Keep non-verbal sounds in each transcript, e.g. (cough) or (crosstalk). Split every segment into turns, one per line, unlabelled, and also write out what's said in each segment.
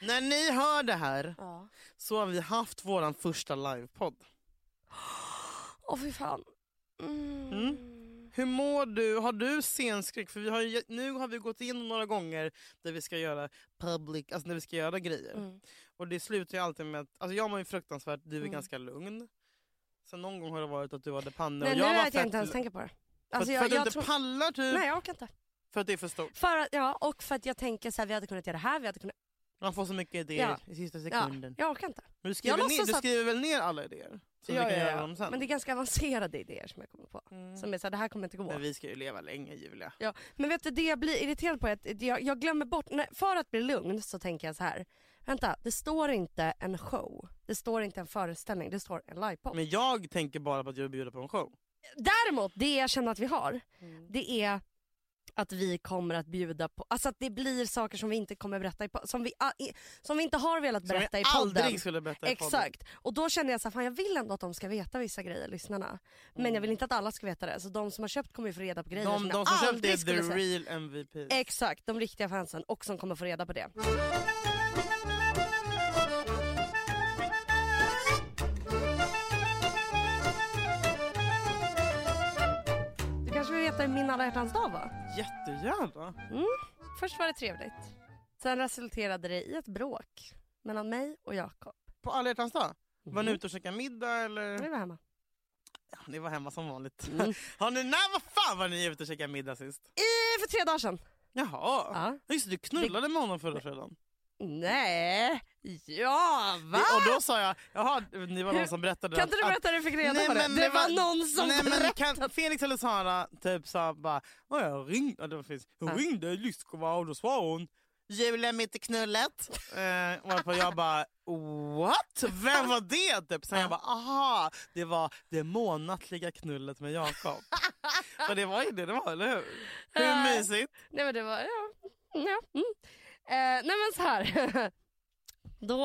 När ni hör det här
Ja.
så har vi haft våran första livepodd.
Åh fy fan. Mm.
Hur mår du? Har du scenskräck? För vi har ju, nu har vi gått in några gånger där vi ska göra public, alltså när vi ska göra grejer.
Mm.
Och det slutar ju alltid med att, alltså jag mår ju fruktansvärt, du är
Mm.
ganska lugn. Sen någon gång har det varit att du hade panna
Nej,
och
nu
jag
är
var
att jag
fett
inte ens
lu-
tänker på det.
För,
Alltså,
för
jag,
att du
jag
inte
tror...
pallar typ,
Nej jag orkar inte.
för att det är för stort.
För att, ja, och för att jag tänker så här, vi hade kunnat göra det här, vi hade kunnat...
Man får så mycket idéer i sista
Ja,
sekunden.
jag orkar inte.
Men du skriver,
Jag
ner,
låtsas
du
att-
skriver väl ner alla idéer? Så vi
Ja,
kan
ja,
göra
ja.
dem sen?
Men det är ganska avancerade idéer som jag kommer på.
Mm.
Som är så här, det här kommer inte gå.
Men vi ska ju leva länge Julia.
Ja, men vet du, det jag blir irriterad på är att jag, jag glömmer bort, när, för att bli lugn så tänker jag så här. Vänta, det står inte en show, det står inte en föreställning, det står en livepodd.
Men jag tänker bara på att jag bjuder på en show.
Däremot, det jag känner att vi har,
Mm.
det är att vi kommer att bjuda på, alltså att det blir saker som vi inte kommer berätta i po- som vi, ah, i- som vi inte har velat
Som
berätta
jag
i podden.
aldrig skulle berätta i podden.
Exakt, och då känner jag så här, fan jag vill ändå att de ska veta vissa grejer, lyssnarna. Men jag vill inte att alla ska veta det, så de som har köpt kommer ju få reda på grejer
Mm. De,
som
de
jag
som köpte
aldrig
är
skulle
the
säga.
real MVP.
Exakt, de riktiga fansen och som kommer få reda på det. Du kanske vill veta hur min alla hjärtans dag var?
Jättegärna.
Först var det trevligt. Sen resulterade det i ett bråk mellan mig och Jakob.
På alla hjärtans dag. Var
Mm.
ni ute och käkade middag eller?
Nu
(laughs)
var hemma.
Ja, ni var hemma som vanligt.
Mm.
Har ni, när vad fan var ni ute och käkade middag sist?
I, för tre dagar sedan.
Jaha.
Ja.
Just det, du knullade med honom förra fredagen.
Nej. Ja, va?
Och då sa jag, jaha ni var de som berättade
Kan inte du
att-
berätta hur du fick reda
Nej,
på det?
men
det
det
var
var-
någon som
Nej, men
berättade.
kan, Felix eller Sara typ sa bara, "Ja, jag ringde, det finns, hon
Ja.
ringde Lyskova och då svarade hon Julia mitt i knullet. Eh, varpå jag bara what? Vem var det? Typ. Sen jag bara aha, det var det månatliga knullet med
(laughs)
Jakob. Och det var ju det det var, eller hur?
Ja.
Hur mysigt?
Nej men det var, ja. ja. Mm. Eh, nej men så här. (laughs) Då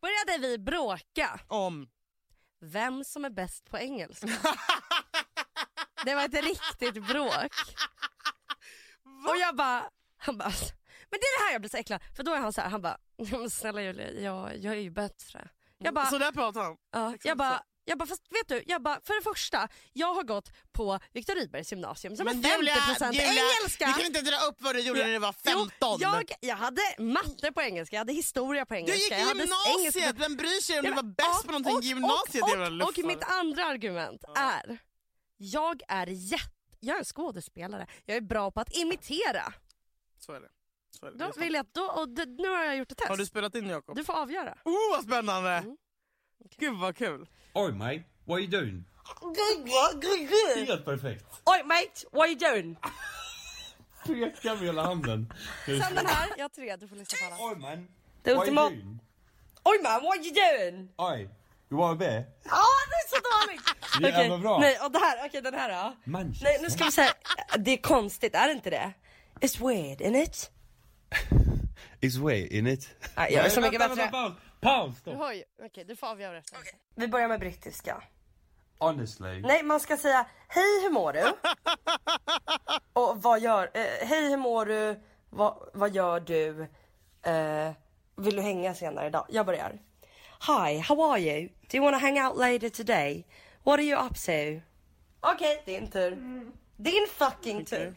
började vi bråka
Om.
vem som är bäst på engelska. Det var ett riktigt bråk. Och jag bara, han bara, "Alltså." men det är det här jag blir så äcklad. För då är han så här, han bara, "Ja, men snälla Julia, jag, jag är ju bättre. Jag bara,
Så där pratade han.
Ja,
Exakt
jag bara,
Liksom så.
jag bara, fast vet du, jag bara, för det första, jag har gått på Viktor Rydbergs gymnasium som har 50% engelska.
du kan inte dra upp vad du gjorde när du var 15.
Jo, jag, jag hade matte på engelska, jag hade historia på
Du
engelska.
gick i
jag hade engelska-
gymnasiet, vem bryr sig om du var bäst på någonting i gymnasiet?
Och,
jävla
och, och,
luffare.
mitt andra argument är, jag är jätte... Jag är en skådespelare, jag är bra på att imitera.
Så är det. Så är det.
Då
Det är
vill jag, då, och det, nu har jag gjort ett
sant. Har du
test.
spelat in Jakob?
Du får avgöra.
Oh vad spännande!
Mm.
Gud vad kul!
Oi mate, what are you doing? Helt perfekt!
Oj mate, what are you
(laughs)
doing?
Pekar med hela handen.
Sen den här, jag har tre, du får lyssna på alla.
Oi man,
Det
what are you
ultimata-
doing?
Oj man, what are you doing?
Oi, you want a beer?
Åh det är så dåligt!
Det är
Okej,
jävla bra.
Nej, och det här, okej den här då.
Manchester.
Nej nu ska vi säga, det är konstigt, är det inte det? It's weird, isn't it?
It's way in it.
Nej, jag är så
Nej,
mycket
vänta,
bättre.
vänta, Paus, paus stopp.
Oj, okej du får avgöra efter.
Vi börjar med brittiska.
Honestly.
Nej, man ska säga hej hur mår
(laughs)
du? Och vad gör, eh, hej hur mår du? Vad, vad gör du? Eh, vill du hänga senare idag? Jag börjar. Hi, how are you? Do you wanna hang out later today? What are you up to? Okej, din
Mm.
tur. Din fucking tur.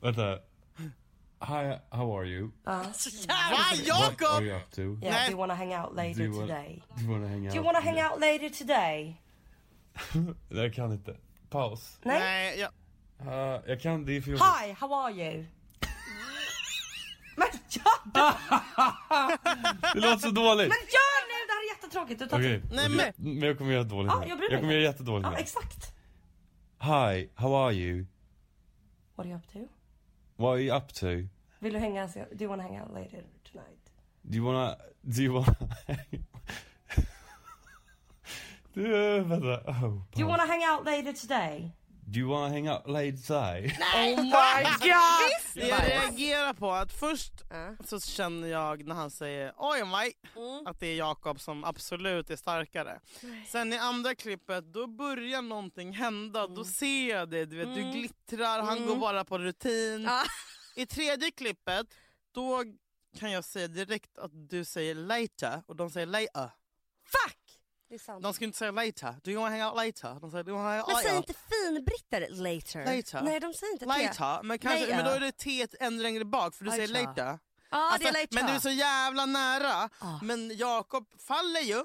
Vänta. Hi, how are you?
Va
What are
Jakob?
you up to?
Yeah,
Nej.
do you wanna hang out
Do
later
you wanna,
today?
do you wanna hang out?
Do you wanna hang out later today?
Jag kan inte. Paus.
Nej.
Nej, jag,
Uh, jag kan, det är för jobbigt.
Hi, how are you? Men gör,
Det låter så dåligt.
men gör nu! Det här är jättetråkigt. Du tar
Okej,
Nej,
okej. Mm, men jag kommer göra ett dåligt
Ja,
nu.
jag bryr mig
jag kommer
inte.
göra jättedåligt
Ja,
nu.
exakt.
Hi, how are you?
What are you up to?
What are you up to?
Vill du hänga, do you wanna hang out later tonight?
Do you wanna... Do you wanna... (laughs) du, vänta. Oh,
Do you
paus.
wanna hang out later today?
Do you wanna hang out late today?
Oh
(laughs)
my god!
det jag reagerar på att först så känner jag när han säger oj maj
Mm.
att det är Jakob som absolut är starkare. Sen i andra klippet då börjar någonting hända,
Mm.
då ser jag det, du, vet, du glittrar, han går bara på rutin.
Ja.
I tredje klippet då kan jag säga direkt att du säger later och de säger later.
Fuck! Det är sant.
De skulle inte säga later. Do you wanna hang out later? De säger do you wanna hang out
Men säg
later?
inte finbritter later.
Later.
Nej de säger inte det.
Later, men, kanske,
Later.
men då är det T ännu längre bak för du säger
Later.
later.
Ja
Alltså,
det är later.
Men du är så jävla nära.
Ah.
Men Jakob faller ju.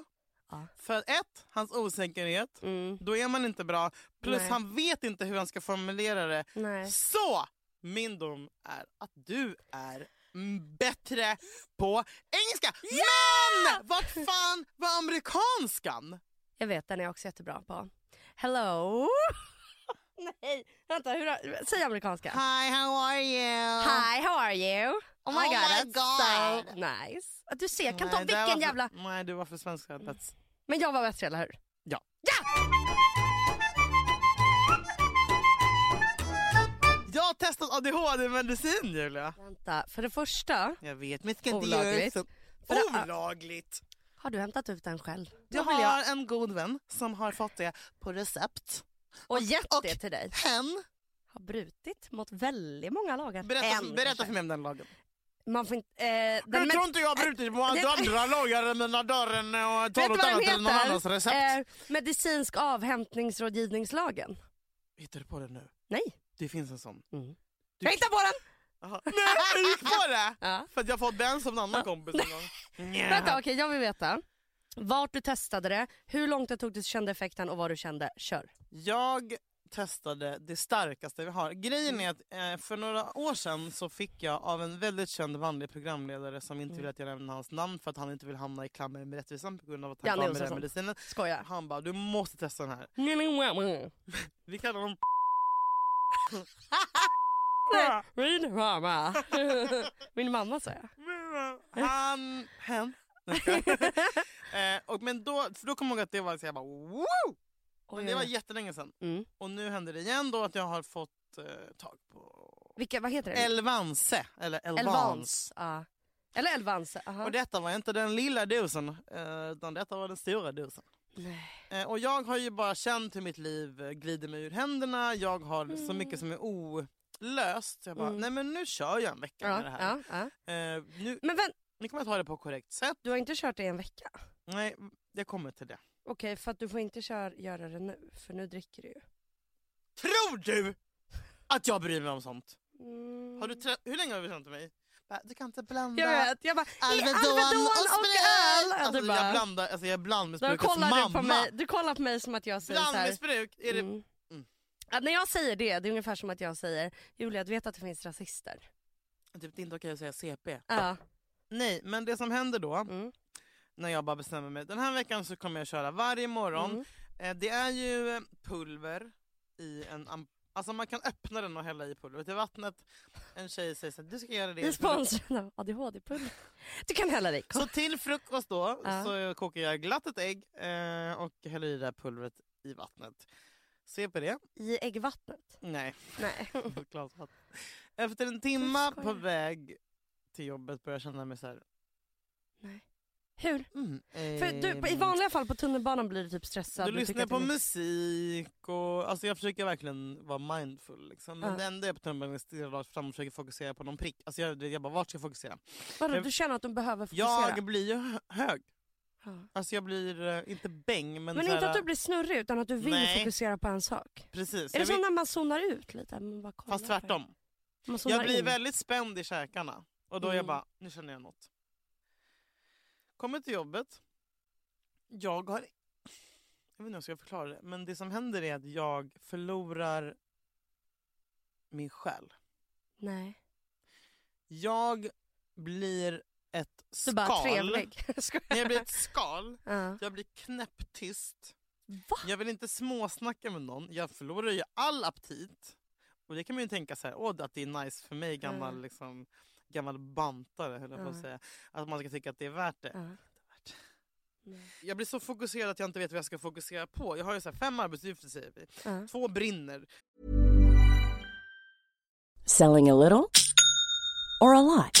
Ja.
För ett, hans osäkerhet.
mm,
Då är man inte bra. Plus
Nej.
han vet inte hur han ska formulera det.
nej.
Så min dom är att du är mm, bättre på engelska. Men vart fan var amerikanskan?
Jag vet den är jag också jättebra på. Hello. (laughs) nej vänta hur har... säg amerikanska.
Hi, how are you?
Hi, how are you? Oh my
Oh
god,
my
that's
God.
so nice. Att Du ser, jag kan ta
Nej, där
vilken
var-
jävla...
Nej, du var för svensk. That's...
Men jag var bättre, eller hur?
Ja.
Ja!
Jag har testat ADHD-medicin, Julia.
Vänta, för det första,
Jag vet, men jag ska inte göra
Olagligt.
så.
För det-
Olagligt.
har du hämtat ut den själv?
Jag
Då vill jag-
har en god vän som har fått det på recept.
Och gett
och-
det till dig.
Hen,
Har brutit mot väldigt många lagar.
berätta,
En,
berätta
kanske.
för mig om den lagen.
Man får inte... Eh, den
jag
mest-
tror inte jag har brutit mot
det-
andra lagar än mina dörren och
Vet
tar
du
något
vad den
annat än någon
heter?
annans recept.
Eh, medicinsk avhämtningsrådgivningslagen.
Hittar du på det nu?
Nej.
Det finns en sån.
Mm.
Du-
Jag hittade på den!
Aha. Nej, jag gick på det!
Ja.
För att jag fått den som en annan kompis en gång. Nja.
Vänta, okej jag vill veta. Vart du testade det, hur långt det tog tills du kände effekten och vad du kände. Kör.
Jag testade det starkaste vi har. Grejen är att eh, för några år sedan så fick jag av en väldigt känd manlig programledare som inte vill att jag nämner hans namn för att han inte vill hamna i klammer med rättvisan på grund av att han
Janne
gav mig den
Josefsson.
medicinen.
Skoja.
Han bara, du måste testa den här. Mm. Vi kallar honom
Min mamma. (laughs) Min mamma sa jag.
Han, hen. Nej, jag skojar. eh, och men då, för då kommer jag ihåg att det var så jag bara wow! Men det var jättelänge sedan.
Mm.
Och nu händer det igen då att jag har fått eh, tag på
Vilka, vad heter det?
Elvanse, eller Elvans.
Elvans. Ja. Eller Elvans. aha.
Och detta var inte den lilla dosen, eh, utan detta var den stora dosen.
Nej.
Eh, Och jag har ju bara känt hur mitt liv eh, glider mig ur händerna. Jag har så mycket som är olöst. Jag bara,
Mm.
nej men nu kör jag en vecka
Ja,
med det här.
ja, ja.
Eh, Nu,
Men vänt,
nu kommer jag ta det på korrekt sätt.
du har inte kört det i en vecka?
Nej, jag kommer till det.
Okej, för att du får inte kör, göra det nu, för nu dricker du ju.
Tror du att jag bryr mig om sånt?
Mm.
Har du trä- hur länge har du känt mig? Bara, Du kan inte blanda
Jag vet, jag bara,
Alvedon och
öl!
Spröl!
Ja,
Alltså,
du bara,
jag blandar, alltså jag är
då
blandmissbrukets
kollar
mamma.
du på mig, du kollar på mig som att jag säger så här.
Blandmissbruk, är det
Mm.
Mm.
Att när jag säger det, det är ungefär som att jag säger Julia du vet att det finns rasister?
typ, det är inte okej att säga CP?
Ja.
Nej, men det som händer då,
Mm.
när jag bara bestämmer mig, den här veckan så kommer jag köra varje morgon.
Mm.
Eh, det är ju eh, pulver i en am- Alltså man kan öppna den och hälla i pulvret i vattnet. En tjej säger så här, du ska göra det.
Vi är
för du-
sponsrade av ADHD-pulver. Du kan hälla dig.
Så till frukost då
Ja.
så kokar jag glatt ett ägg eh, och häller i det här pulvret i vattnet. Se på det.
I äggvattnet?
Nej, (laughs)
Nej.
glasvatten. Efter en timma
skojar.
på väg till jobbet börjar jag känna mig så här.
Hur?
Mm,
För du, på- I
ehm,
vanliga fall på tunnelbanan blir du typ stressad.
Du
tycker
lyssnar
att
på
det-
musik och alltså jag försöker verkligen vara mindful. Liksom. Men
Ja.
det enda jag är på tunnelbanan är stirrar rakt fram och försöker fokusera på någon prick. Alltså jag, jag bara, vart ska jag fokusera?
Vadå, du känner att du behöver fokusera?
Jag blir ju hö- hög.
Ja.
Alltså jag blir, eh, inte bäng men,
Men
så
inte
här,
att du blir snurrig utan att du vill
Nej.
fokusera på en sak.
Precis.
Är det
Jag
som
vill-
när man zonar ut lite? Man bara kollar
Fast tvärtom.
på- Man zonar
Jag blir
in.
väldigt spänd i käkarna. Och då är jag
Mm.
bara, nu känner jag något. Kommer till jobbet. Jag har... Jag vet inte hur jag ska förklara det. Men det som händer är att jag förlorar min själ.
Nej.
Jag blir ett
Du
skal.
bara trevlig. (laughs)
Nej,
Skojar.
jag blir ett skal.
Ja.
Jag blir knäpptyst.
Va?
Jag vill inte småsnacka med någon. Jag förlorar ju all aptit. Och det kan man ju tänka så här, åh att det är nice för mig gammal,
Ja.
liksom, gammal bantare höll jag på att
Ja.
säga. Att man ska tycka att det är värt det.
Ja. Nej.
Jag blir så fokuserad att jag inte vet vad jag ska fokusera på. Jag har ju så här fem arbetsuppgifter säger vi.
Ja.
Två brinner.
Selling a little or a lot?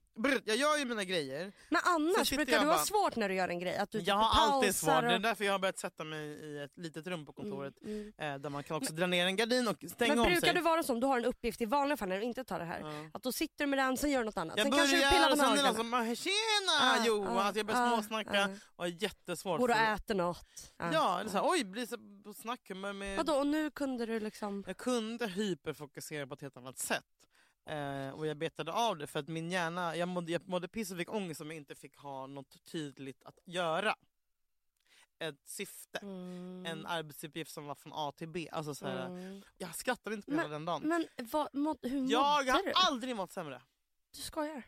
brr, jag gör ju mina grejer.
Men
Så
annars
sitter
brukar
jag
du
bara-
ha svårt när du gör en grej? Att du typ
Jag har alltid
pausar
svårt, det är
och-
därför jag har börjat sätta mig i ett litet rum på kontoret.
Mm.
Eh, där man kan också dra ner en gardin och stänga
Men
om
brukar
sig.
du vara som, du har en uppgift i vanliga fall när du inte tar det här. Att då sitter du med den, sen gör du något annat.
Jag
sen kanske du
börjar
pillar
och
med
sen är det
naglarna.
någon som bara, “tjena
Ah,
Johan”,
ah,
att alltså jag
ah,
börjar småsnacka.
ah.
och har jättesvårt
Går och
för det.
äter något. Ja.
Ja, eller så här, oj, blir så på snackhumör med...
Vadå, och nu kunde du liksom...
Jag kunde hyperfokusera på ett helt annat sätt. Eh, och jag betade av det för att min hjärna, jag mådde, jag mådde piss och fick ångest om jag inte fick ha något tydligt att göra. Ett syfte. Mm. En arbetsuppgift som var från A till B. Alltså så här,
Mm.
Jag skrattade inte på hela den dagen.
Men vad, må, hur
Jag
mådde
har
du?
aldrig mått sämre.
Du skojar?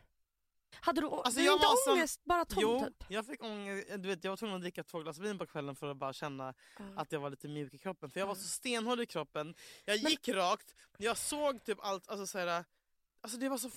Hade du,
Alltså,
du
jag
inte
var som-
ångest, bara tom
Jo,
typ?
jag fick ångest. Du vet, jag var tvungen att dricka två glas vin på kvällen för att bara känna
Mm.
att jag var lite mjuk i kroppen. För jag var så stenhård i kroppen. Jag
Men-
gick rakt, jag såg typ allt. Alltså, så här, alltså det var så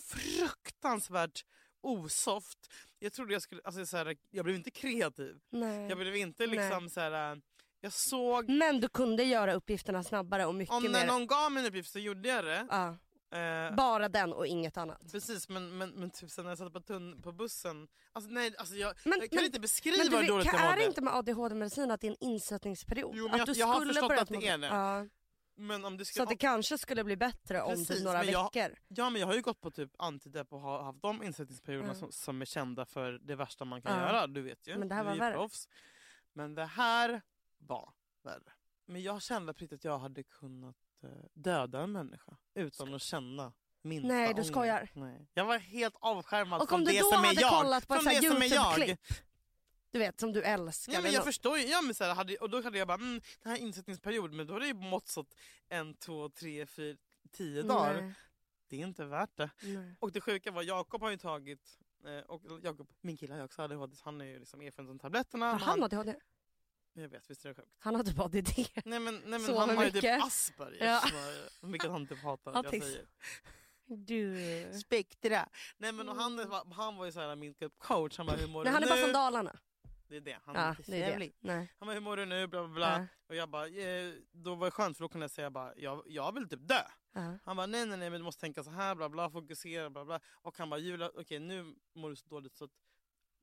fruktansvärt osoft. Jag trodde jag skulle, alltså, så här, jag blev inte kreativ.
Mm. Nej.
Jag blev inte liksom så här, jag såg,
Men du kunde göra uppgifterna snabbare och mycket
om när
mer.
någon gav mig en uppgift så gjorde jag det.
Ja,
Eh,
bara den och inget annat.
Precis, men, men, men typ sen när jag satt på, tunn, på bussen... Alltså, nej, alltså jag,
Men-
jag kan
men-
inte beskriva
Men du,
hur
vet,
dåligt
kan,
jag
är
mådde.
det inte med ADHD-medicin att det är en insättningsperiod?
Jo, men
att
jag-
du
jag har
skulle
förstått
börjat
att det
må-
är det.
Ja,
Men om du ska
så att det kanske skulle bli bättre om
Precis,
typ några
men jag-
veckor.
Ja men jag har ju gått på typ antidepp och har haft de insättningsperioderna
Mm.
som, som är kända för det värsta man kan
Ja.
göra. Du vet ju.
Men det här
du
var
är ju
värre.
proffs. Men det här var värre. Men jag kände på riktigt att jag hade kunnat eh, döda en människa utan att känna minsta
Nej, du
ångest.
skojar.
Nej. Jag var helt avskärmad
Och
från
om du
det
då
som är
hade
jag.
kollat på ett
från
så här
det som är jag.
Youtube-klipp Du vet, som du älskar.
Ja, men
eller
jag
något.
förstår ju. Ja, men så här, hade, och då hade jag bara, mm, den här insättningsperioden, men då hade jag ju mått så att en, två, tre, fyra, tio dagar.
Nej,
Det är inte värt det.
nej.
Och det sjuka var, Jakob har ju tagit, eh, och Jakob, min kille har ju också ADHD, så han är ju liksom erfaren från tabletterna.
Har
men
han ADHD?
Jag vet, visst är det sjukt?
Han har typ ADD.
Nej men, nej, men
Sover
han har ju
mycket.
typ Aspergers,
Ja.
som är- vilket han typ hatar att jag
Autism.
säger.
Du.
Spektra. Nej men och han, var- han var ju såhär min typ coach, han bara hur mår du
Nej, Mm. han är bara
nu?
från Dalarna.
Det är det, han
Ja,
är
det är det.
jävlig.
Nej.
Han bara hur mår du nu? Bla bla bla.
Ja,
Och jag bara, eh, då var det skönt för då kunde jag säga bara, jag, jag vill typ dö.
ja.
Han bara, nej nej nej men du måste tänka så här, bla bla, fokusera, bla bla. Och han bara, Julia, okej nu mår du så dåligt så att,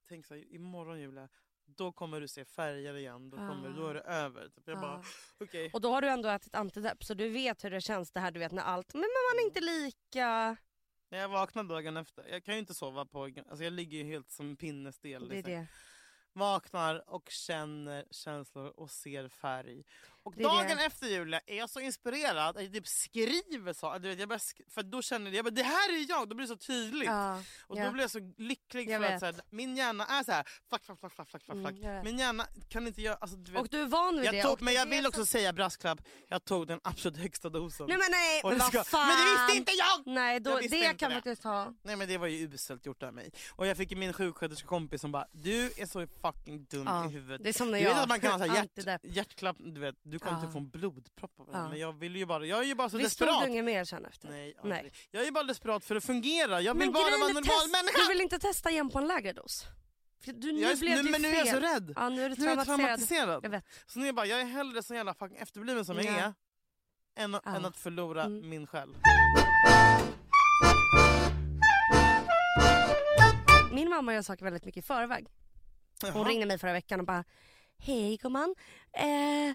tänk så här, imorgon Julia, då kommer du se färger igen, då, kommer,
Ah.
då är det över. Typ. Jag bara,
Ja.
okej.
Och då har du ändå ätit antidepp så du vet hur det känns det här du vet när allt, men man är inte lika.
När jag vaknar dagen efter, jag kan ju inte sova på, alltså jag ligger ju helt som en pinnestel.
Det är
liksom.
det.
Vaknar och känner känslor och ser färg. Och
Det är
dagen
det.
efter Julia är jag så inspirerad att jag typ skriver så. Du vet, jag börjar sk- för då känner jag, jag bara, det här är jag, då blir det så tydligt.
Ja,
Och
Ja.
då blir jag så lycklig
Jag
för
vet.
att så här, min hjärna är så här, flack, flack, flack, flack, flack, flack.
Mm, jag vet.
min hjärna kan inte göra... Alltså, du vet,
Och du är van vid det.
jag tog,
och
men
det
jag
är
vill
det
också
som-
säga brasklapp, jag tog den absolut högsta dosen.
Nej men nej,
Och
men
det ska-
vad fan.
men det visste inte jag!
Nej, då,
Jag
det
visste
kan
inte det.
faktiskt ha.
Nej men det var ju uselt gjort av mig. Och jag fick ju min sjuksköterskekompis som bara, du är så fucking dum
Ja,
i huvudet.
Det är som när
Du
jag
vet att man kan
(laughs)
ha så här hjärt,
antidepp.
hjärtklapp, du vet, du kommer
Ja.
inte få en blodpropp av det.
Ja.
Men jag vill ju bara, jag är ju bara så
Visst tog du
desperat.
inget mer sen efter?
Nej,
Nej.
aldrig. Jag är ju bara desperat för att fungera, jag vill
Men
bara
grejen
vara
är
en normal
test-
människa.
Du vill inte testa igen på en lägre dos? För Du, nu
Jag är-
blev
nu-
det ju
men nu är
fel.
jag så rädd.
Ja, nu är du
Nu är jag
traumatiserad.
traumatiserad.
Jag vet.
Så nu är jag bara, jag är hellre så jävla fucking efterbliven som
Ja.
jag är än,
Ja.
än att förlora
Mm.
min själ.
Min mamma gör saker väldigt mycket i förväg. Hon
Jaha.
ringde mig förra veckan och bara Hej gumman. Eh,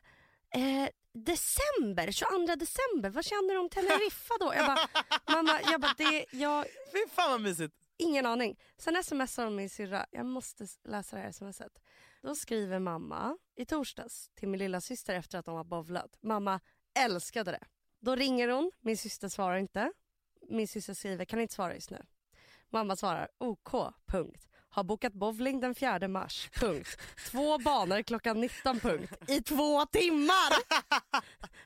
eh, december, 22 december, vad känner du om Teneriffa då?
(laughs)
Jag bara, mamma, jag bara, det, jag,
Fy fan vad mysigt.
Ingen aning. Sen smsar hon min syrra. Jag måste s- läsa det här smset. Då skriver mamma i torsdags till min lilla syster efter att de har bovlat. Mamma älskade det. Då ringer hon. Min syster svarar inte. Min syster skriver kan inte svara just nu. Mamma svarar OK. Punkt. Har bokat bowling den 4 mars. Punkt. Två banor klockan 19. Punkt. I två timmar!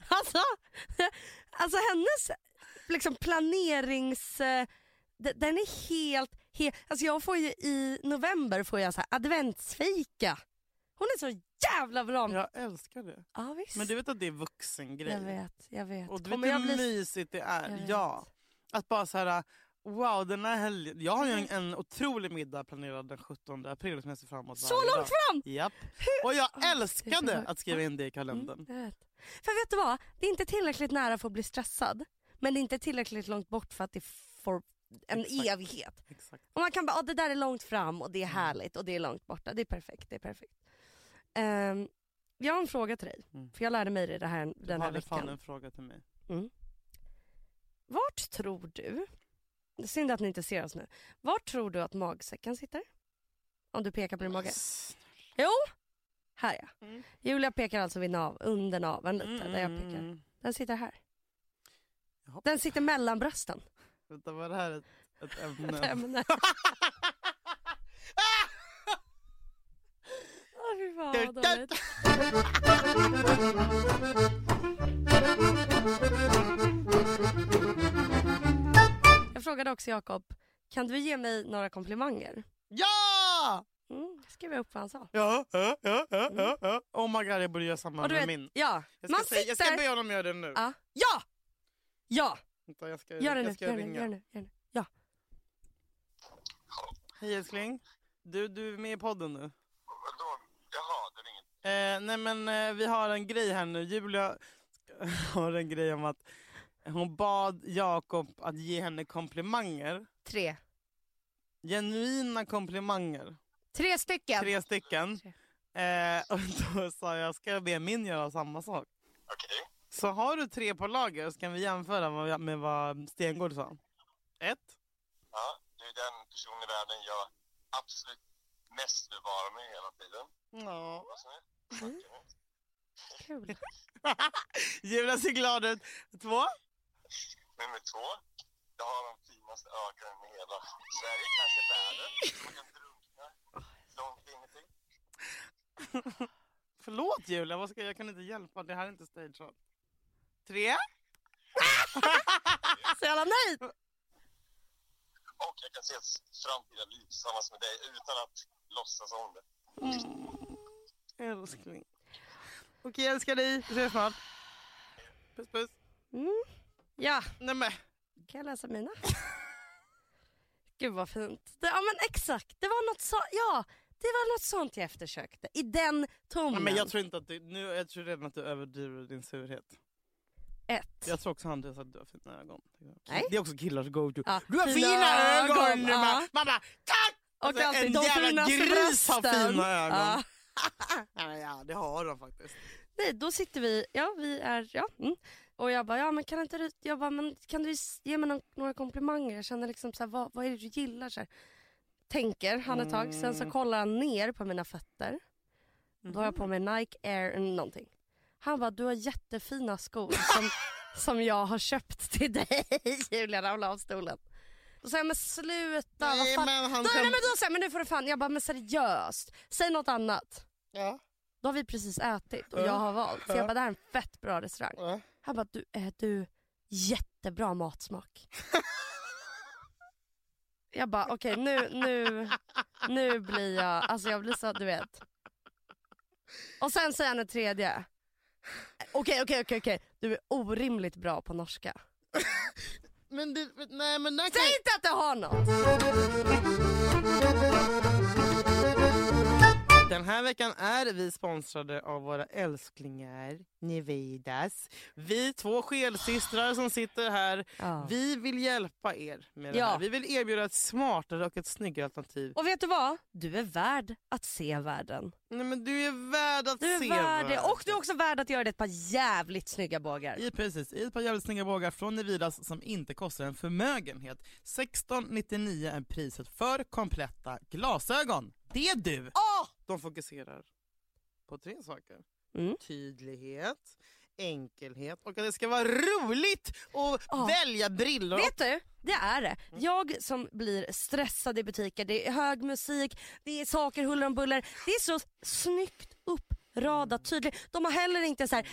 Alltså, alltså hennes liksom planerings... eh, d- Den är helt... helt alltså jag får ju i november får jag så här adventsfika. Hon är så jävla bra. Ja,
Jag älskar det.
visst.
Men du vet att det är
jag
vuxengrej.
vet, jag vet.
Och du
Kommer
vet
jag
hur
bli
mysigt det
Jag
är.
vet.
Ja. Att bara så här, wow den här helgen. Jag har ju en, en otrolig middag planerad den 17 april som jag ser fram emot
så
varje
långt
dag.
fram?
Japp. Och jag
det är
älskade
så-
att skriva in det i kalendern.
Mm, jag vet. För vet du vad? Det är inte tillräckligt nära för att bli stressad. Men det är inte tillräckligt långt bort för att det får Mm. en
Exakt. Mm.
evighet.
Exakt.
Och man kan bara, ah, det där är långt fram och det är härligt och det är långt borta. Det är perfekt, det är perfekt. Ehm, jag har en fråga till dig.
Mm.
För jag lärde mig det här,
Du
den här
hade fan
veckan.
en fråga till mig.
Vart tror du, synd att ni inte ser oss nu. Vart tror du att magsäcken sitter? Om du pekar på din mage.
S-
Jo, här ja.
Mm.
Julia pekar alltså vid nav, under naveln lite,
Mm,
där jag
mm,
pekar.
mm.
Den sitter här.
Jaha.
Den sitter
(laughs)
mellan brösten.
Vänta, var det här ett, ett
Ett
ämne?
ämne. Åh, fy fan, vad dåligt. Jag frågade också Jakob, kan du ge mig några komplimanger?
(laughs) ja!
Mm, jag skrev upp vad han sa.
Ja, ja, ja, ja, ja, ja. Oh my god, jag borde göra samma
Mm. Och du
med
vet,
min.
ja,
Jag ska,
man
säga, jag ska
sitter...
be honom göra det nu.
Ja, ja! Ja!
Vänta, jag ska,
Gör det nu,
jag ska
gör det nu,
ringa.
gör det nu. Gör det nu. Ja.
Hej älskling. Du, du är med i podden nu.
Vadå? Jaha, det är inget.
Eh, nej men eh, vi har en grej här nu. Julia (laughs) har en grej om att hon bad Jakob att ge henne komplimanger.
Tre.
Genuina komplimanger.
Tre stycken.
Tre stycken. Eh, och då sa jag, ska jag be min göra samma sak?
Okej.
Så har du tre på lager så kan vi jämföra vad- med vad Stengård sa. Ett.
Ja, du är den person i världen jag absolut mest vill vara med hela tiden.
Ja.
Vad snyggt. Tack, Jenny.
Kul.
(laughs) Julia ser glad ut. Två.
Nummer två. Jag har de finaste ögonen i hela Sverige, kanske världen. Man kan drunkna. Långt ingenting.
Förlåt Julia, vad ska jag, jag kan inte hjälpa. Det här är inte stageat. Tre.
(laughs) Så jävla nöjd!
Och jag kan se ett framtida liv tillsammans med dig utan att låtsas om det.
Älskling. Okej, jag älskar dig. Vi ses snart. Puss puss.
Ja.
Nej men.
Kan jag läsa mina? (laughs) Gud vad fint. Det, ja men exakt, det var något så, ja, det var något sånt jag eftersökte. I den tonen.
Nej, men jag tror inte att du, nu, jag tror redan att du överdriver din surhet.
Ett.
Jag tror också Andreas att du har fina ögon.
Nej.
Det är också killars go-to.
Ja,
Du har fina, ögon! ögon.
ja.
Man bara, tack!
Och
Alltså,
alltid
en
de
jävla
finaste
gris har
brösten.
fina ögon.
Ja.
Ja, ja, det har de faktiskt.
Nej, då sitter vi, ja vi är, ja. Mm. Och jag bara, ja men kan inte du, jag bara, men kan du s- ge mig någon, några komplimanger? Jag känner liksom så här, vad, vad är det du gillar? Så här. Tänker han ett tag, sen
Mm.
så kollar han ner på mina fötter. Då har jag på mig
Mm.
Nike Air någonting. Han bara, du har jättefina skor
(laughs)
som, som jag har köpt till dig. Julia ramlade av stolen. Och så jag, men sluta, vad
Nej,
fan.
men han
Då, nej, men
skämt...
då säger men nu får du fan, jag bara, men seriöst. Säg något annat.
Ja,
Då har vi precis ätit och
Ja.
jag har valt. Så jag bara, det här är en fett bra restaurang.
ja.
Han bara, du, är du, jättebra matsmak. Jag bara, okej nu, nu, nu blir jag, alltså jag blir så, du vet. Och sen säger han en tredje. Okej, okej, okej, okej. Du är orimligt bra på norska.
Men det, men- nej men där kan
Säg inte att du har något!
Den här veckan är vi sponsrade av våra älsklingar Nividas. Vi två skelsystrar som sitter här.
Ja.
Vi vill hjälpa er med det
Ja.
här. Vi vill erbjuda ett smartare och ett snyggare alternativ.
Och vet du vad? Du är värd att se världen.
Nej, men du är värd att
Du är
se.
värd det.
världen.
Och du är också värd att göra det ett par jävligt snygga bågar.
I, precis, i ett par jävligt snygga bågar från Nividas som inte kostar en förmögenhet. 1699 är priset för kompletta glasögon. Det är du! De fokuserar på tre saker.
Mm.
Tydlighet, enkelhet och att det ska vara roligt att
Ja.
välja brillor.
Vet du, det är det.
Mm.
Jag som blir stressad i butiker, det är hög musik, det är saker huller om buller. Det är så snyggt uppradat tydligt. De har heller inte så här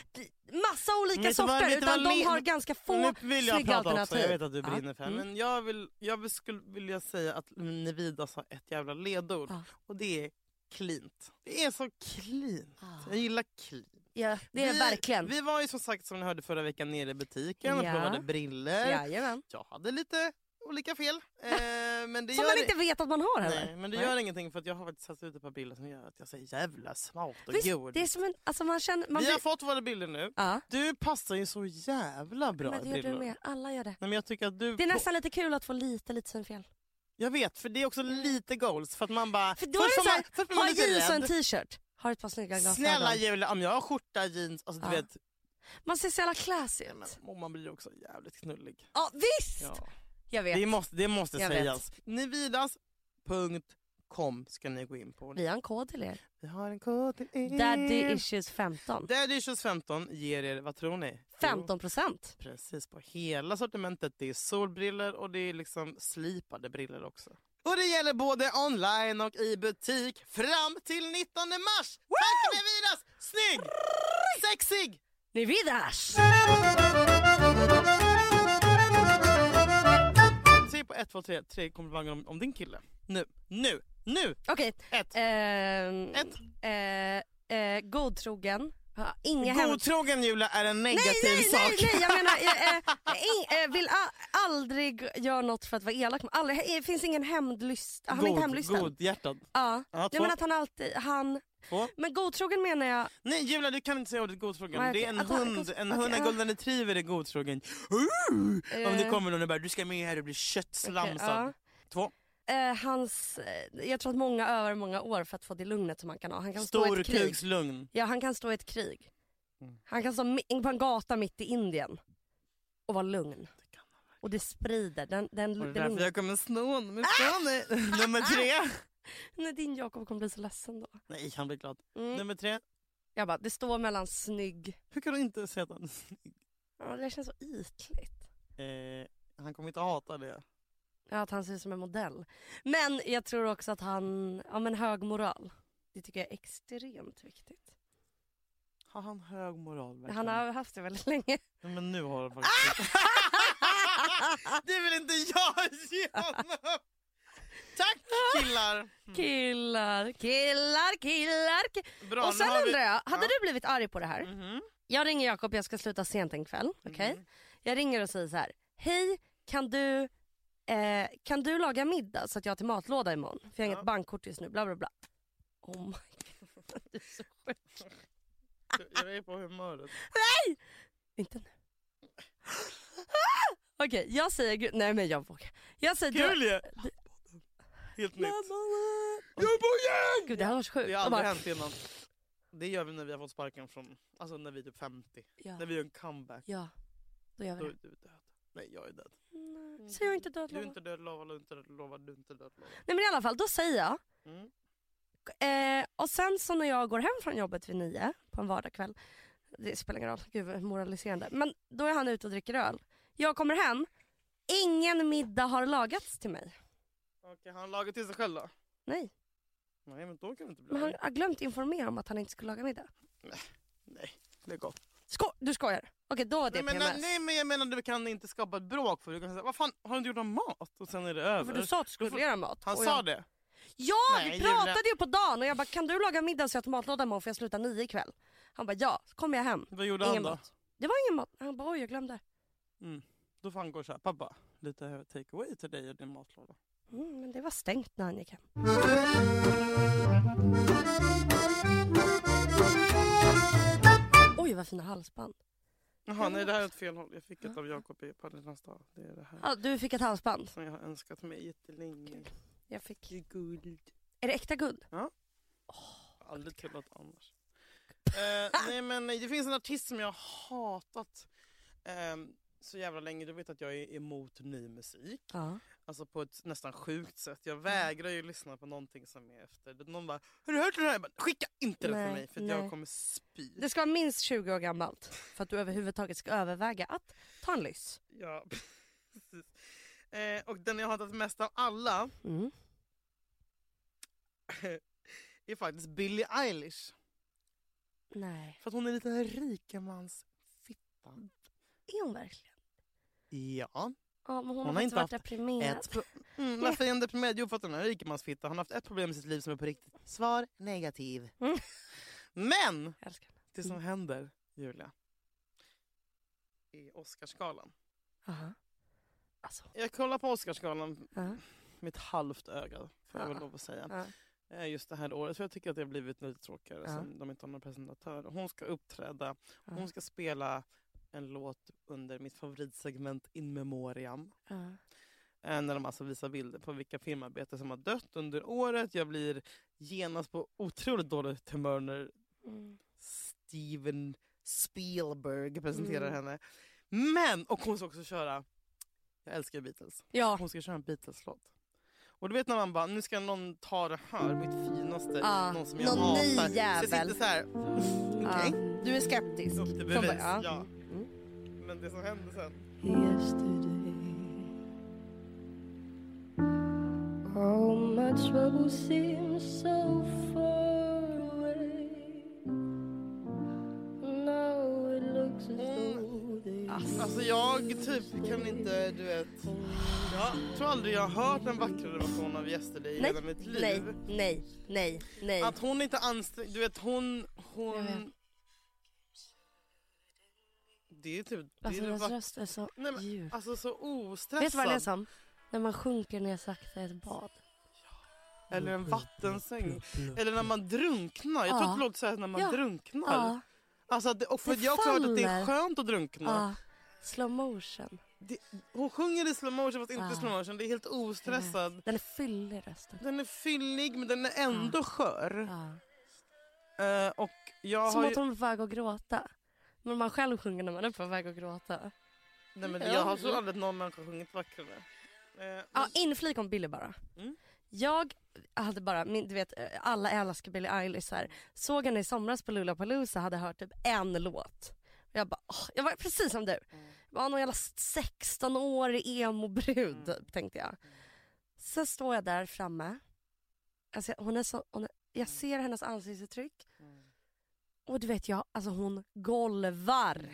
massa olika
Vet du vad-
sorter
vet du
utan
vad
de
le-
har ganska få
nu vill jag
snygga
prata Också.
alternativ.
Jag vet att du
Ja.
brinner för det här,
Mm.
men jag vill, jag vill- skulle vilja säga att Nividas har ett jävla ledord
Ja.
och det är cleant. Det är så cleant.
Ah.
Jag gillar clean.
Ja, det är
vi,
verkligen.
Vi var ju som sagt som ni hörde förra veckan nere i butiken och
Ja.
provade briller.
Jajamän.
Jag hade lite olika fel.
(laughs)
Eh, men det
Som
gör
man inte vet att man har heller.
Nej, men det
Nej.
gör ingenting för att jag har faktiskt satt ut ett par bilder som gör att jag säger jävla smart och
Visst,
god.
det är som en, alltså man känner, man
Vi har
blir,
fått våra bilder nu.
ja,
Du passar ju så jävla bra
men
i
det gör
brillor.
du med. Alla gör det.
Nej, men jag tycker att du
Det är
på-
nästan lite kul att få lite, lite synfel.
Jag vet, för det är också lite goals. För att man bara...
Mm. För då
först
är det
får
så
man,
här,
först blir man
har
lite
jeans och en
rädd.
t-shirt. Har ett par snygga glasögon.
Snälla Julia, om jag har skjorta, jeans, alltså du
Ja.
vet.
Man ser så jävla classy
Men,
ut.
och man blir också jävligt knullig.
Ja visst!
Ja.
Jag vet.
Det måste, det måste
Jag vet.
sägas. Nividas.com ska ni gå in på.
Vi har en kod till er.
Vi har en kod till er.
Daddy issues 15.
Daddy Issues 15 ger er, vad tror ni? Jo,
15 procent.
Precis, på hela sortimentet. Det är solbriller och det är liksom slipade briller också. Och det gäller både online och i butik fram till 19 mars! Tack Nevidas! Snygg! Sexig!
Ni vidars!
Säg på 1, 2, 3, tre komplimanger om, om din kille. Nu, nu, nu!
Okej.
Ett.
Ehm,
Ett.
eh, eh, godtrogen. Ja, Inga hem...
Godtrogen Julia är en
Nej,
(laughs) negativ
nej,
sak.
nej, nej, jag menar, eh,
(laughs)
eh, ing- eh, vill a- aldrig göra något för att vara elak. Aldrig, det finns ingen hämndlysta. Han är inte
God,
hämndlysten.
god hjärtad.
Ja.
Ja,
Jag menar
två,
att han alltid, han...
två.
Men godtrogen menar jag,
Nej Julia du kan inte säga ordet godtrogen.
Nej,
Det är en
okej. Att han-
hund, en
okej,
hund, en
ja.
golden retriever är godtrogen. Om det
Eh.
kommer någon och bara du ska med här och bli köttslamsad.
Okej,
Två.
eh, hans... Eh, jag tror att många övar många år för att få det lugnet som han kan ha. Han kan stå i ett krig.
Storkukslugn.
Ja, han kan stå i ett krig.
Mm.
Han kan stå mi- på en gata mitt i Indien och vara lugn. Och det sprider. Den, den,
Och det är
den,
därför jag kommer sno honom
Ah!
ifrån dig.
(laughs)
Nummer tre.
Nej, din Jakob kommer bli så ledsen då.
Nej han blir glad.
Mm.
Nummer tre.
Jag bara, det står mellan snygg...
Hur kan du inte säga att han
Ja, det känns så ytligt.
eh, Han kommer inte hata det.
Ja, att han ser ut som en modell. Men jag tror också att han... Ja, men hög moral. Det tycker jag är extremt viktigt.
Har han hög moral verkligen?
Han har Ah! haft det väldigt länge.
Nej, Men nu har han faktiskt Det vill inte jag ge honom! Tack killar!
Killar, killar, killar. ki-
Bra,
och
nu
sen
har vi-
undrar jag, hade
Ja.
du blivit arg på det här?
Mhm.
Jag ringer Jakob, jag ska sluta sent en kväll. okej? Jag ringer och säger så här. Hej, kan du, eh, kan du laga middag så att jag har till matlåda imorgon? För jag har
Ja.
inget bankkort just nu. Bla bla bla. Oh my god, (laughs) du är så sjuk.
Jag är på humöret.
Inte nu. (laughs) Ah! Okej, jag säger gud. Nej men jag vågar. Jag säger
Kul ju! Helt nytt. Jobbojen!
Gud det här var så sjukt.
Det har
Jag
aldrig
bara,
hänt innan. Det gör vi när vi har fått sparken från, alltså när vi är typ 50.
ja,
När vi gör en comeback.
ja, då gör vi
Då är
det.
du död. Nej jag är död.
Nej, Så jag är inte död
Du är
Lola.
inte död Lova, du är inte död Lova, du är inte död Lova.
Nej men i alla fall, då säger jag.
Mm.
Eh, och sen så när jag går hem från jobbet vid nio på en vardagkväll. Det spelar ingen roll, gud vad moraliserande. Men då är han ute och dricker öl. Jag kommer hem, ingen middag har lagats till mig.
Okej, har han lagat till sig själv då?
Nej,
Nej men då kan du inte bli
men han
arg.
har glömt informera om att han inte skulle laga middag.
Lägg av.
Sko- du skojar? Okej, då var det
Nej men,
PMS.
nej men jag menar du kan inte skapa ett bråk för du kan säga vad fan har du inte gjort någon mat? Och sen är det över.
för du sa att du
Då får-
skulle göra mat.
Han
Och
sa
jag,
det.
Ja,
Nej,
vi
Julia.
pratade ju på dagen och jag bara kan du laga middag så jag har till matlåda imorgon för jag slutar nio ikväll. Han bara ja, så kommer jag hem.
Vad gjorde han
Ingen
då?
mat. Det var ingen mat. Han bara oj jag glömde.
Då får han gå och köpa bara lite take away till dig och din matlåda.
Mm, men det var stängt när han gick hem. Oj vad fina halsband.
Jaha nej det här är åt fel håll. Jag fick ett av Jakob i Paddelans dag. Det är det här
Ja, du fick ett halsband.
som jag har önskat mig jättelänge.
Jag fick.
Det är guld.
Är det äkta guld?
Aldrig tillåt annars. Eh, nej men det finns en artist som jag har ehm, hatat eh, så jävla länge. Du vet att jag är emot ny musik.
Ja.
Alltså på ett nästan sjukt sätt.
Mm.
Jag vägrar ju lyssna på någonting som är efter. Någon bara, har du hört den här? Jag bara, Skicka inte det
Nej,
för mig för att
nej.
jag kommer spy.
Det ska vara minst 20 år gammalt för att du överhuvudtaget ska överväga att ta en lyss.
Ja, (laughs) precis. Eh, och den jag hatat mest av alla (laughs)
Mm.
är faktiskt Billie Eilish.
Nej.
För att hon är en liten rikemans fitta.
Är hon verkligen?
Ja.
Ja, men hon,
har
har
inte
inte varit
haft
deprimerad.
Ett pro- mm, varför är hon deprimerad? Jo, för att hon är en rikemansfitta. Hon har haft ett problem i sitt liv som är på riktigt. Svar negativ.
Mm.
Men
Jag älskar Mm. henne.
det som händer, Julia, är Oscarsgalan.
Aha. Alltså,
Jag kollar på Oscarsgalan
ja.
med ett halvt öga, får jag väl
Ja.
lov att säga.
Ja.
eh, just det här året. För jag tycker att det har blivit lite tråkigare
Ja.
som de inte har någon presentatör. Hon ska uppträda,
Ja.
hon ska spela en låt under mitt favoritsegment In Memoriam.
Ja.
Eh, när de alltså visar bilder på vilka filmarbetare som har dött under året. Jag blir genast på otroligt dåligt humör när
Mm.
Steven Spielberg presenterar
Mm.
henne. Men, och hon ska också köra, jag älskar Beatles.
ja.
Hon ska köra en Beatles-låt. Och du vet när man bara, nu ska någon ta det här, mitt finaste,
Ja,
någon som jag
någon ny
hatar. Så jag
jävel.
sitter så här, (laughs) okej,
Ja. Du är skeptisk.
upp till
Som
bevis.
bara, ja.
Ja. Men det som hände sen,
Yesterday. All my trouble seems so far away. Now it looks as though they
alltså jag typ kan inte, du vet. Jag tror aldrig jag har hört en vackrare version av Yesterday i
Nej,
hela mitt liv.
nej, nej, nej, nej.
Att hon inte anstränger, du vet hon,
Jag
hon...
vet.
Det är typ, det
Alltså
är det
hennes
vack-
röst är så
Nej, men-
djup.
Alltså så
Vet du vad det är
ostressad.
som? När man sjunker ner sakta i ett bad.
Eller en vattensäng. Eller när man drunknar. Jag
Ja.
tror att det låter så här när man
Ja.
drunknar.
Ja,
Alltså att det, och för
Det
jag har också hört att det är
faller.
skönt att drunkna.
ja. Slow motion.
Det, hon sjunger i slow motion fast inte i
Ja.
slow motion. Det är helt ostressad.
Den är fyllig rösten.
Den är fyllig men den är ändå skör.
Ja.
Eh, och jag
Som
har,
att
ju,
hon är på väg att gråta. Men man själv sjunger när man är på väg att gråta.
nej, men jag har så aldrig någon människa sjungit vackrare. Eh,
Ja,
men-
inflik om Billie bara.
Mm.
Jag hade bara, min, du vet alla älskar Billie Eilish så här. Såg henne i somras på Lollapalooza hade hört typ en låt. Jag bara, åh, jag var precis som du. Jag var någon jävla 16-årig emo-brud tänkte jag. Så står jag där framme. Alltså, hon är så, hon är, jag
Mm.
ser hennes ansiktsuttryck. Och du vet jag, alltså hon
Mm.
golvar.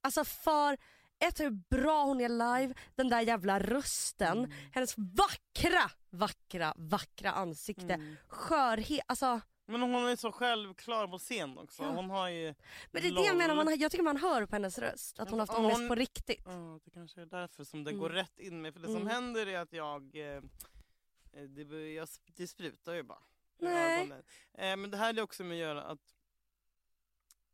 Alltså för ett hur bra hon är live, den där jävla rösten,
Mm.
hennes vackra, vackra, vackra ansikte,
Mm.
skörhet, alltså.
men hon är så självklar på scen också. Hon har ju...
Men det är det jag menar,
Lol.
man, jag tycker man hör på hennes röst att hon har haft
Ja,
ångest
hon-
på riktigt.
Ja, det kanske är därför som det
Mm.
går rätt in mig. För det som
Mm.
händer är att jag... eh, Det, bör- jag, det sprutar ju bara. ur
Nej.
ögonen. Eh, Men det här är också med att göra att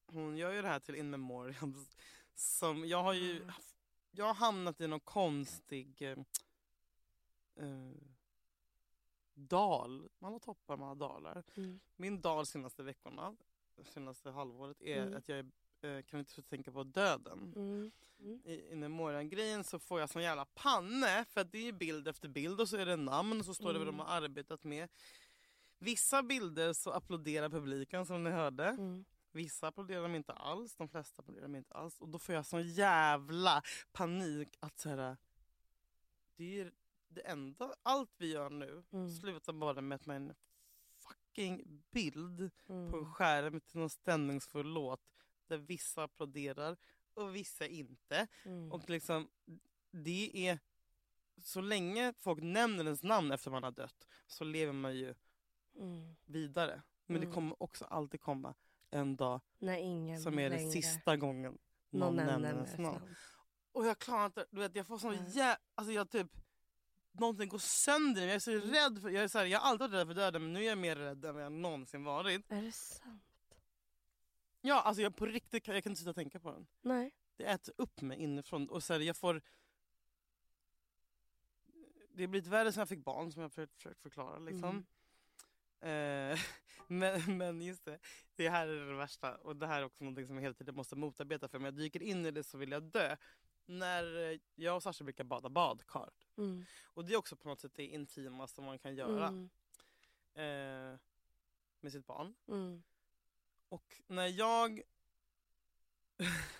hon gör ju det här till In Memoriam. Som jag har ju
Mm.
haft- jag har hamnat i någon konstig eh, eh, dal. Man har toppar, man har dalar.
Mm.
Min dal senaste veckorna, senaste halvåret, är
Mm.
att jag är, eh, kan inte sluta tänka på döden
Mm.
i In Memoriam-grejen så får jag sån jävla panne för att det är ju bild efter bild och så är det namn och så står det vad de
Mm.
har arbetat med. Vissa bilder så applåderar publiken som ni hörde.
Mm.
Vissa applåderar de inte alls, de flesta applåderar de inte alls. Och då får jag sån jävla panik att så här, det är ju det enda, allt vi gör nu
Mm.
slutar bara med att man är en fucking bild på en
Mm.
skärm till någon stämningsfull låt där vissa applåderar och vissa inte.
Mm.
Och liksom, det är... Så länge folk nämner ens namn efter man har dött så lever man ju
Mm.
vidare. Men det
Mm.
kommer också alltid komma en dag
När ingen
som är den
längre-
sista gången någon, nämner ens namn. Och jag klarar inte, du vet jag får sån
Nej.
jävla... Alltså jag typ... Någonting går sönder i mig. Jag är så rädd för... Jag, är så här, jag har alltid varit rädd för döden men nu är jag mer rädd än vad jag någonsin varit.
Är det sant?
Ja, alltså jag på riktigt kan- jag kan inte sluta tänka på den.
Nej.
det äter upp mig inifrån. Och så här, jag får... Det har blivit värre sen jag fick barn som jag försökt, försökt förklara. Liksom. Eh, (laughs) men, men just det, det här är det värsta. Och det här är också någonting som jag hela tiden måste motarbeta. För om jag dyker in i det så vill jag dö. när eh, jag och Sasha brukar bada badkar.
Mm.
Och det är också på något sätt det intimaste man kan göra
Mm.
eh, med sitt barn.
Mm.
Och när jag (laughs)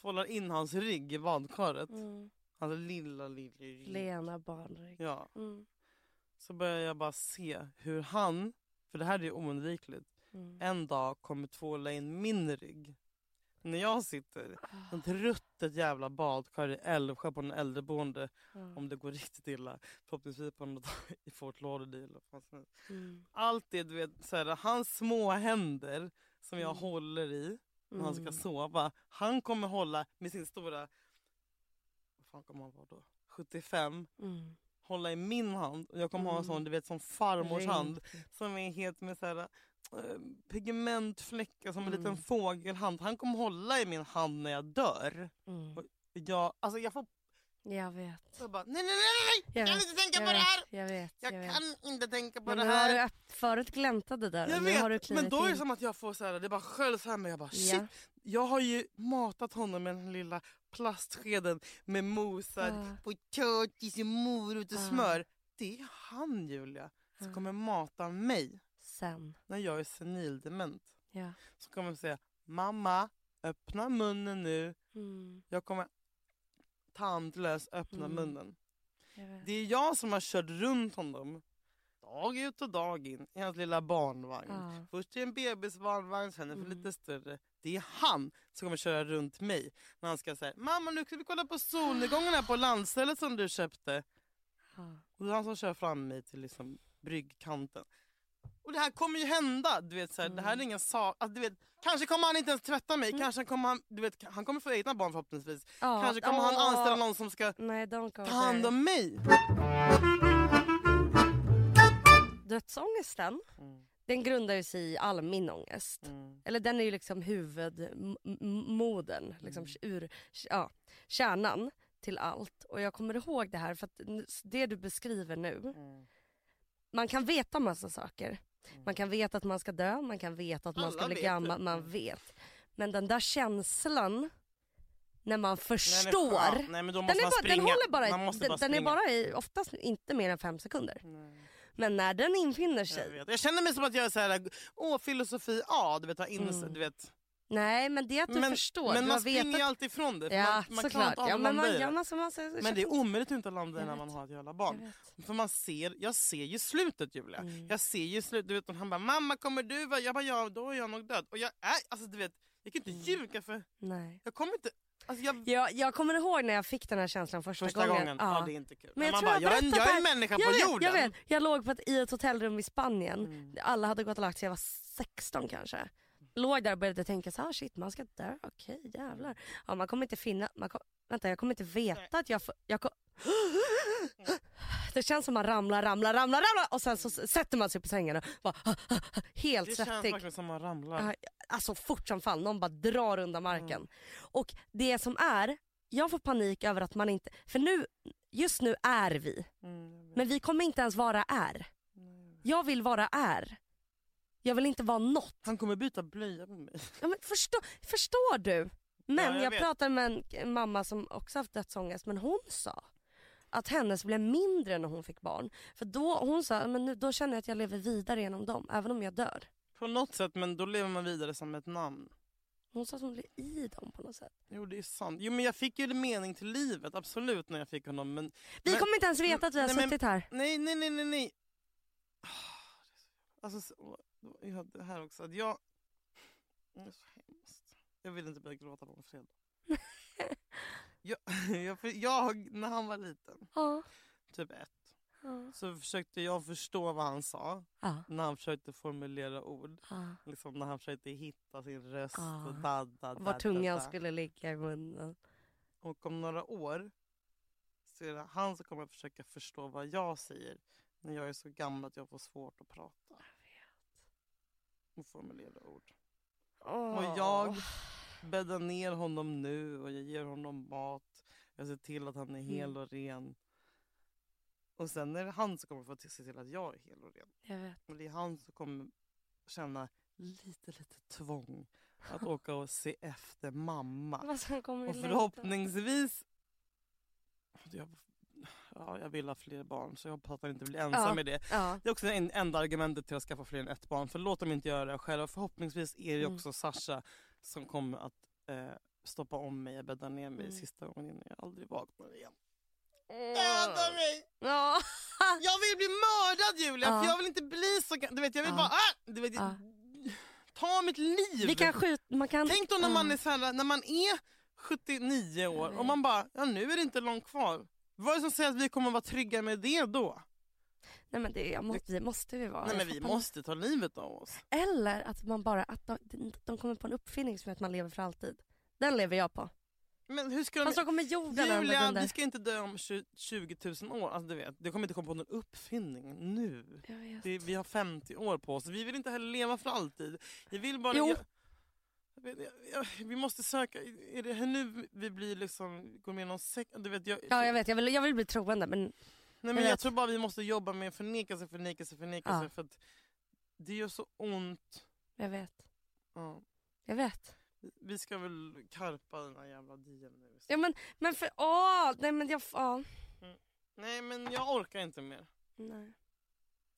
tvålar in hans rygg i badkaret,
Mm.
hans Alltså, lilla, lilla rygg.
Lena barnrygg.
Ja,
Mm.
så börjar jag bara se hur han, för det här är ju oundvikligt,
Mm.
en dag kommer tvåla in min rygg. När jag sitter
Ah,
i ett ruttet jävla badkar i Älvsjö på en äldreboende,
Ja.
om det går riktigt illa, förhoppningsvis på något (laughs) i Fort Lauderdale. och fan som helst.
Mm.
Allt det, du vet, så här, hans små händer som jag håller i, när han ska
Mm.
sova. Han kommer hålla med sin stora... Vad fan kommer han vara då? 75.
Mm.
Hålla i min hand. Och jag kommer ha en sån, du vet, som farmors hand. Som är helt med så här, eh, pigmentfläckar som en
Mm.
liten fågelhand. Han kommer hålla i min hand när jag dör.
Mm.
Jag, alltså jag får
Jag vet.
jag bara, nej, nej, nej, nej, jag kan
vet,
inte tänka
jag
på det
vet,
här.
Jag vet.
Jag,
vet.
kan inte tänka på
Men
det
nu har
här.
du öpp- förut gläntade där.
Jag
nu har du
vet,
klivit
men då är det
in.
som att jag får så här, det bara sköljs här men jag bara shit.
Ja.
Jag har ju matat honom med den lilla plastskeden med mosad
Ja.
potatis och morot och
Ja.
smör. Det är han Julia som
Ja.
kommer mata mig
Sen.
när jag är senildement.
Ja.
Som kommer säga mamma öppna munnen nu.
Mm.
Jag kommer tandlös öppna
Mm.
munnen.
Jag vet.
Det är jag som har kört runt honom dag ut och dag in i hans lilla barnvagn.
Ja.
Först i en bebisbarnvagn, sen en för
Mm.
lite större. Det är han som kommer köra runt mig när han ska säga “mamma nu ska vi kolla på solnedgången här på landstället som du köpte”.
Ja.
Och det är han som kör fram mig till liksom bryggkanten. Och det här kommer ju hända. Du vet, så här, Det här är
Mm.
ingen sak. Alltså, du vet, kanske kommer han inte ens tvätta mig. Kanske kommer han, du vet, han kommer få egna barn förhoppningsvis.
Ja.
Kanske kommer han
Åh.
anställa någon som ska
Nej, don't go
ta hand
there.
om mig.
Dödsångesten, den grundar ju sig i all min ångest. Eller den är ju liksom huvudmoden, liksom ur, ja, kärnan till allt. Och jag kommer ihåg det här, för att n- s- det du beskriver nu, man kan veta massa saker. Man kan veta att man ska dö, man kan veta att man
Alla
ska bli
vet
gammal,
det. Mm.
man vet. Men den där känslan när man
Nej, men
förstår,
fan. Nej, men då måste
den, är
Alltså, man
bara, den
springa.
håller bara,
man måste
den,
bara
den är
springa.
bara i, oftast inte mer än fem sekunder. Men när den infinner sig,
Jag, vet. jag känner mig som att jag är så här, åh filosofi A, du vet, har innes, du vet.
nej men det är att du Mm. förstår.
men
du
man
har
springer
vetat-
ju alltid ifrån det. för
Ja
man man klarar
såklart.
inte av
Ja,
att
men,
landa i
man,
det.
ja, men, så man, så, så,
men det är omöjligt att inte landa i
Jag
när
vet.
man har ett jävla
Jag
barn.
vet.
För man ser, jag ser ju slutet Julia.
Mm,
Jag ser ju slutet. Du vet, och han bara, mamma kommer du vara... Jag bara, ja då är jag nog död. Och jag är, alltså du vet, jag kan inte ljuga för
Nej.
jag kommer inte... Alltså, jag,
Jag, jag kommer ihåg när jag fick den här känslan första,
första gången, ja.
Ja.
det är inte kul.
Men jag
man
tror
bara,
jag
jag, är, jag är
berättat det
en
här.
människa
jag
på
vet,
jorden. Mm.
Jag, vet. jag låg på ett, i ett hotellrum i Spanien. Alla hade gått och lagt sig, jag var 16 kanske. Låg där och började tänka så här, shit man ska dö, okej jävlar. Ja, man kommer inte finna, man kom, vänta jag kommer inte veta att jag får, jag kom, (gasps) Det känns som man ramlar, ramlar, ramlar, ramlar och sen så s- sätter man sig upp i sängen och bara, (laughs) helt
Det känns
Alltså, svettig.
verkligen som man ramlar.
Ja, alltså fort som fan, någon bara drar undan marken.
Mm.
Och det som är, jag får panik över att man inte, för nu, just nu är vi.
Mm,
Men vi kommer inte ens vara är. Jag vill vara är. Jag vill inte vara något.
Han kommer byta blöja med mig. (laughs)
Ja, men förstå, förstår du? Men
Ja, jag
jag,
vet.
pratade med en k- mamma som också haft dödsångest, men hon sa att hennes blev mindre när hon fick barn. För då, hon sa, men nu, då känner jag att jag lever vidare genom dem, även om jag dör.
På något sätt, men då lever man vidare som ett namn.
Hon sa att hon blev i dem på något sätt.
Jo, det är sant. Jo, men jag fick ju mening till livet, absolut, när jag fick honom. Men...
Vi
men...
kommer inte ens veta att vi har
Nej, men-
suttit här.
Nej, nej, nej, nej, nej. Ah, det är så- Alltså, så... ja, det här också. Att jag... Det är så hemskt. Jag vill inte börja gråta på en
(laughs)
fredag. jag, jag, (laughs) för jag, när han var liten,
Ja.
typ ett,
Ja.
så försökte jag förstå vad han sa
Ja.
när han försökte formulera ord.
ja.
Liksom när han försökte hitta sin röst.
Ah.
Och da, da, da,
Var
da,
tungan
da.
skulle ligga i munnen.
Och om några år så är det han som kommer att försöka förstå vad jag säger när jag är så gammal att jag får svårt att prata. Och formulera ord. Och jag bäddar ner honom nu och jag ger honom mat. Jag ser till att han är hel och ren. Och sen är det han som kommer få se till att jag är hel och ren.
Jag vet.
Och det är han som kommer känna lite, lite tvång att åka och se efter mamma.
Vad som kommer
Och
i längtan.
förhoppningsvis... Jag, ja, jag vill ha fler barn så jag hoppas att jag inte blir ensam
Ja.
med det.
Ja.
Det är också en, enda argumentet till att skaffa fler än ett barn. För låt dem inte göra det själva. Förhoppningsvis är det
Mm.
också Sasha som kommer att eh, stoppa om mig och bädda ner mig
Mm.
sista gången innan jag aldrig vaknar igen. Döda
Åh.
mig!
Ja.
Jag vill bli mördad Julia!
Ja.
För jag vill inte bli så... ga- Du vet, jag vill
Ja.
bara... Ah! Du vet,
Ja.
Ta mitt liv!
Vi kan skjuta, man kan...
Tänk då när man
Ja.
är, så här, när man är 79 år och man bara, ja nu är det inte långt kvar. Vad är det som säger att vi kommer vara trygga med det då?
Nej men det jag må, vi måste vi vara.
Nej men
Jag
vi
fattar
måste ta livet av oss.
inte. Eller att man bara, att de, de kommer på en uppfinning som gör att man lever för alltid. Den lever jag på.
Men hur ska de...
Fast då kommer jorden
Julia,
använda
vi
den.
ska inte dö om 20 000 år. Alltså, du vet, du kommer inte komma på någon uppfinning nu.
Jag vet.
Det, vi har 50 år på oss. Vi vill inte heller leva för alltid. Vi vill bara...
Jo.
Jag, jag vet- jag, jag, vi måste söka... Är det här nu vi blir liksom, går med i någon sekt? Du vet, jag,
Ja jag vet, jag vill, jag vill bli troende men
Nej,
Jag
men jag
vet.
tror bara vi måste jobba med förnekelse, förnekelse, förnekelse.
Ja.
För att det gör så ont.
jag vet.
Ja.
Jag vet.
Vi ska väl karpa den här jävla dien nu.
Ja men, men för, åh! Nej men jag, ja.
Nej men jag orkar inte mer.
Nej.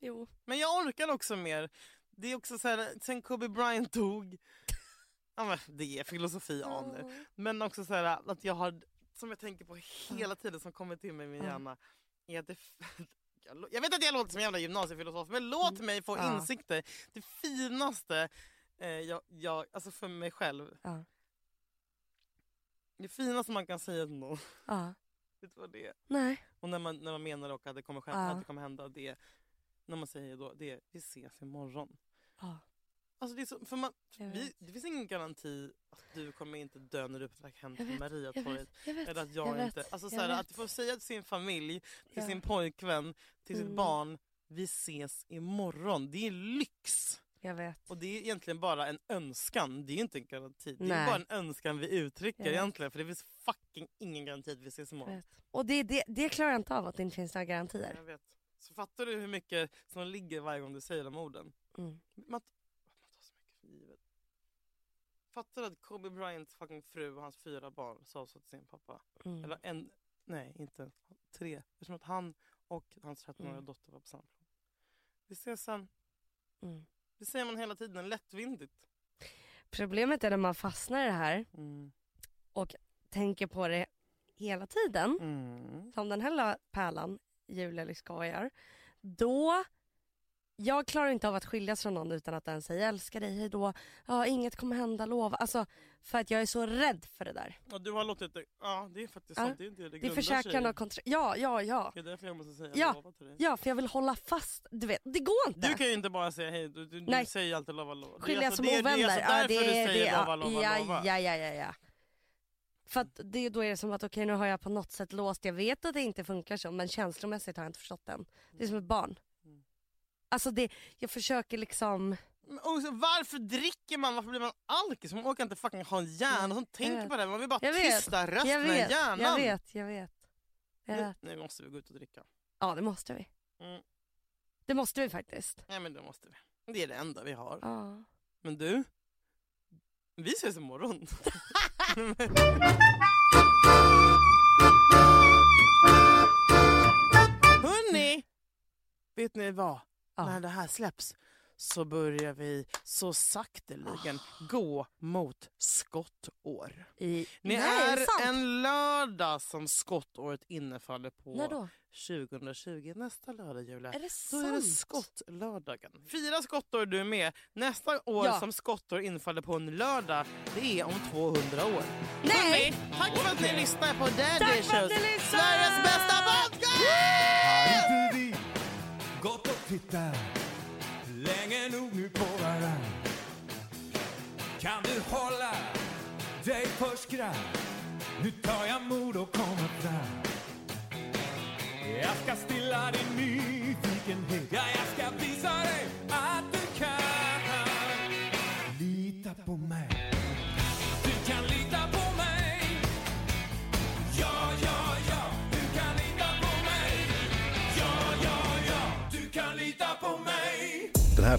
Jo.
Men jag orkar också mer. Det är också så här, sen Kobe Bryant dog. Ja, men det är filosofi aner. Men också så här att jag har, som jag tänker på hela tiden som kommer till mig i min
Ja.
hjärna. Är att det, (laughs) jag lo- jag vet att jag låter som en jävla gymnasiefilosof men låt mig få
Mm. Ja.
insikter. Det finaste eh, jag, jag, alltså för mig själv.
Ja.
Det finaste man kan säga till någon,
Ja.
(laughs) vet du vad det är?
Nej.
Och när man, när man menar och att det kommer, skäm-
Ja.
att det kommer hända, det är, när man säger då, det är vi ses imorgon.
Ja.
Alltså det, är så, för man,
Jag
vi,
vet.
det finns ingen garanti att du kommer inte dö när du är på väg hem
Jag
till
vet, Jag
Mariatorget.
vet, jag vet.
Eller att jag,
vet,
inte... Alltså,
jag
så här,
vet.
att få säga till sin familj, till
Ja.
sin pojkvän, till sitt
Mm.
barn, vi ses imorgon. Det är lyx!
Jag vet.
Och det är egentligen bara en önskan, det är ju inte en garanti. Det är
Nej.
bara en önskan vi uttrycker
Jag vet.
egentligen för det finns fucking ingen garanti att vi ses imorgon.
vet. Och det, det, det klarar jag inte av att det inte finns några garantier.
Jag vet. Så fattar du hur mycket som ligger varje gång du säger de orden?
Mm.
Man, man tar så mycket för givet. Fattar du att Kobe Bryants fucking fru och hans fyra barn sa så till sin pappa?
Mm.
Eller en, nej inte ens. tre. Eftersom att han och hans 13-åriga
Mm.
dotter var på samma plan. Vi ses sen.
Mm.
Det säger man hela tiden, lättvindigt.
Problemet är när man fastnar i det här,
Mm.
tänker på det hela tiden,
Mm.
som den här lilla pärlan, Julia Lyskova gör, då jag klarar inte av att skiljas från någon utan att den säger jag älskar dig, hejdå, ja, inget kommer hända, lova. Alltså, för att jag är så rädd för det där.
Ja, du har låtit det, ja det är faktiskt
Ja.
sant. Det är det det
Det är
grundar sig
försäkran
i.
och kontrakt. Ja, ja, ja.
Det är därför jag måste säga
Ja.
lova till dig.
Ja, för jag vill hålla fast. Du vet, det går inte.
Du kan ju inte bara säga hej, du, du, du
Nej.
säger ju alltid lova lova. Det är
Skilja
alltså-
som
det är-
ovänner.
Det är alltså därför du säger
ja.
lova lova
ja,
lova.
Ja, ja, ja, ja. För att det, då är det som att okej nu har jag på något sätt låst. Jag vet att det inte funkar så men känslomässigt har jag inte förstått den. Det är som ett barn. Alltså det, jag försöker liksom.
Men också, varför dricker man? Varför blir man alkis? Man orkar inte fucking ha en hjärna som tänker
vet.
på det. Man vill bara
Jag vet.
tysta rösten
Jag vet,
i hjärnan.
jag vet, jag vet. Jag
Nu,
vet.
nu måste vi gå ut och dricka.
Ja det måste vi.
Mm.
Det måste vi faktiskt.
Nej men det måste vi. Det är det enda vi har.
Ja.
Men du, vi ses imorgon. (laughs) Hörni! Vet ni vad?
Ja.
När det här släpps så börjar vi så sakteligen
Ah.
gå mot skottår.
I,
Ni
Nej,
är
sant.
en lördag som skottåret innefaller på.
När då?
2020, nästa lördag Julia.
Är det
Då är det
sant?
skottlördagen. Fyra skottår du är med. Nästa år
Ja.
som skottår infaller på en lördag, det är om 200 år.
Nej!
Hörni, tack för att ni lyssnar på Daddy
Tack för att
Issues,
ni lyssnar!
Sveriges bästa podcast!
Har inte vi gått och tittat länge nog nu på varann? Kan du hålla dig för skratt? Nu tar jag mod och kommer fram. Jag ska stilla din nyfikenhet. Ja, jag ska visa dig att du kan. Lita på mig. Du kan lita på mig. Ja, ja, ja. Du kan lita på mig. Ja, ja, ja, du kan lita på mig.
Den här